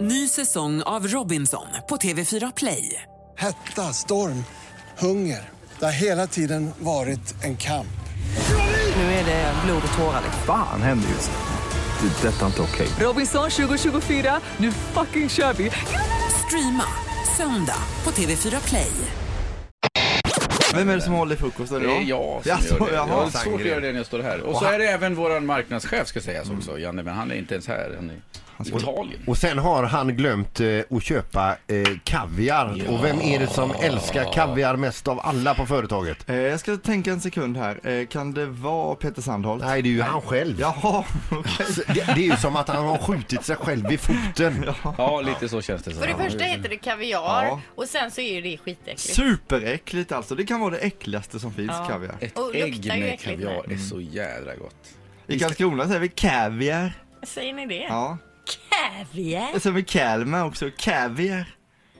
Ny säsong av Robinson på TV4 Play. Hetta, storm, hunger. Det har hela tiden varit en kamp. Nu är det blod och tårar. liksom. Fan händer just nu. Det. är Detta är inte okej. Robinson 2024, nu fucking kör vi! Streama söndag på TV4 Play. Vem är det som håller i frukosten Det idag? är jag som Jaså, gör det. Jag jaha, har lite svårt att Sandgren. göra det när jag står här. Och så är det även vår marknadschef ska sägas också, Janne, men han är inte ens här. Han är i Italien. Och sen har han glömt eh, att köpa eh, kaviar. Och vem är det som älskar kaviar mest av alla på företaget? Eh, Jag ska tänka en sekund här. Eh, Kan det vara Peter Sandholt? Nej, det är ju han själv. Jaha, okej. Så Det, det är ju som att han har skjutit sig själv i foten. Ja, lite så känns det som. För det första heter det kaviar Ja. och sen så är det skitäckligt. Superäckligt alltså. Det kan vara det äckligaste som finns, kaviar. Ett Och ägg luktar ju med äckligt kaviar är så jädra gott. I Karlskrona säger vi kaviar. Säger ni det? Ja. Kaviar? Och sen vi Kalmar också. Kaviar.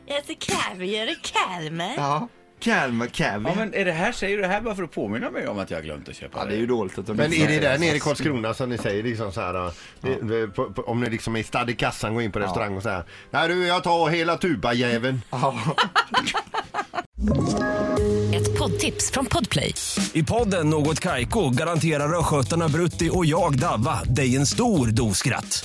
Jag äter kaviar i Kalmar. Ja. Kalmar Ja, kaviar. men är det här, säger du det här bara för att påminna mig om att jag har glömt att köpa Ja, det är ju dåligt att de Men inte är det säger där nere i Karlskrona som ni säger liksom så här, eh, eh, på, på, om ni liksom är stadd i kassan, går in på restaurang och så här. Nej du, jag tar hela tubajäveln. Ja. Ett poddtips från Podplay. I podden Något Kaiko garanterar östgötarna Brutti och jag, Davva, dig en stor dos skratt.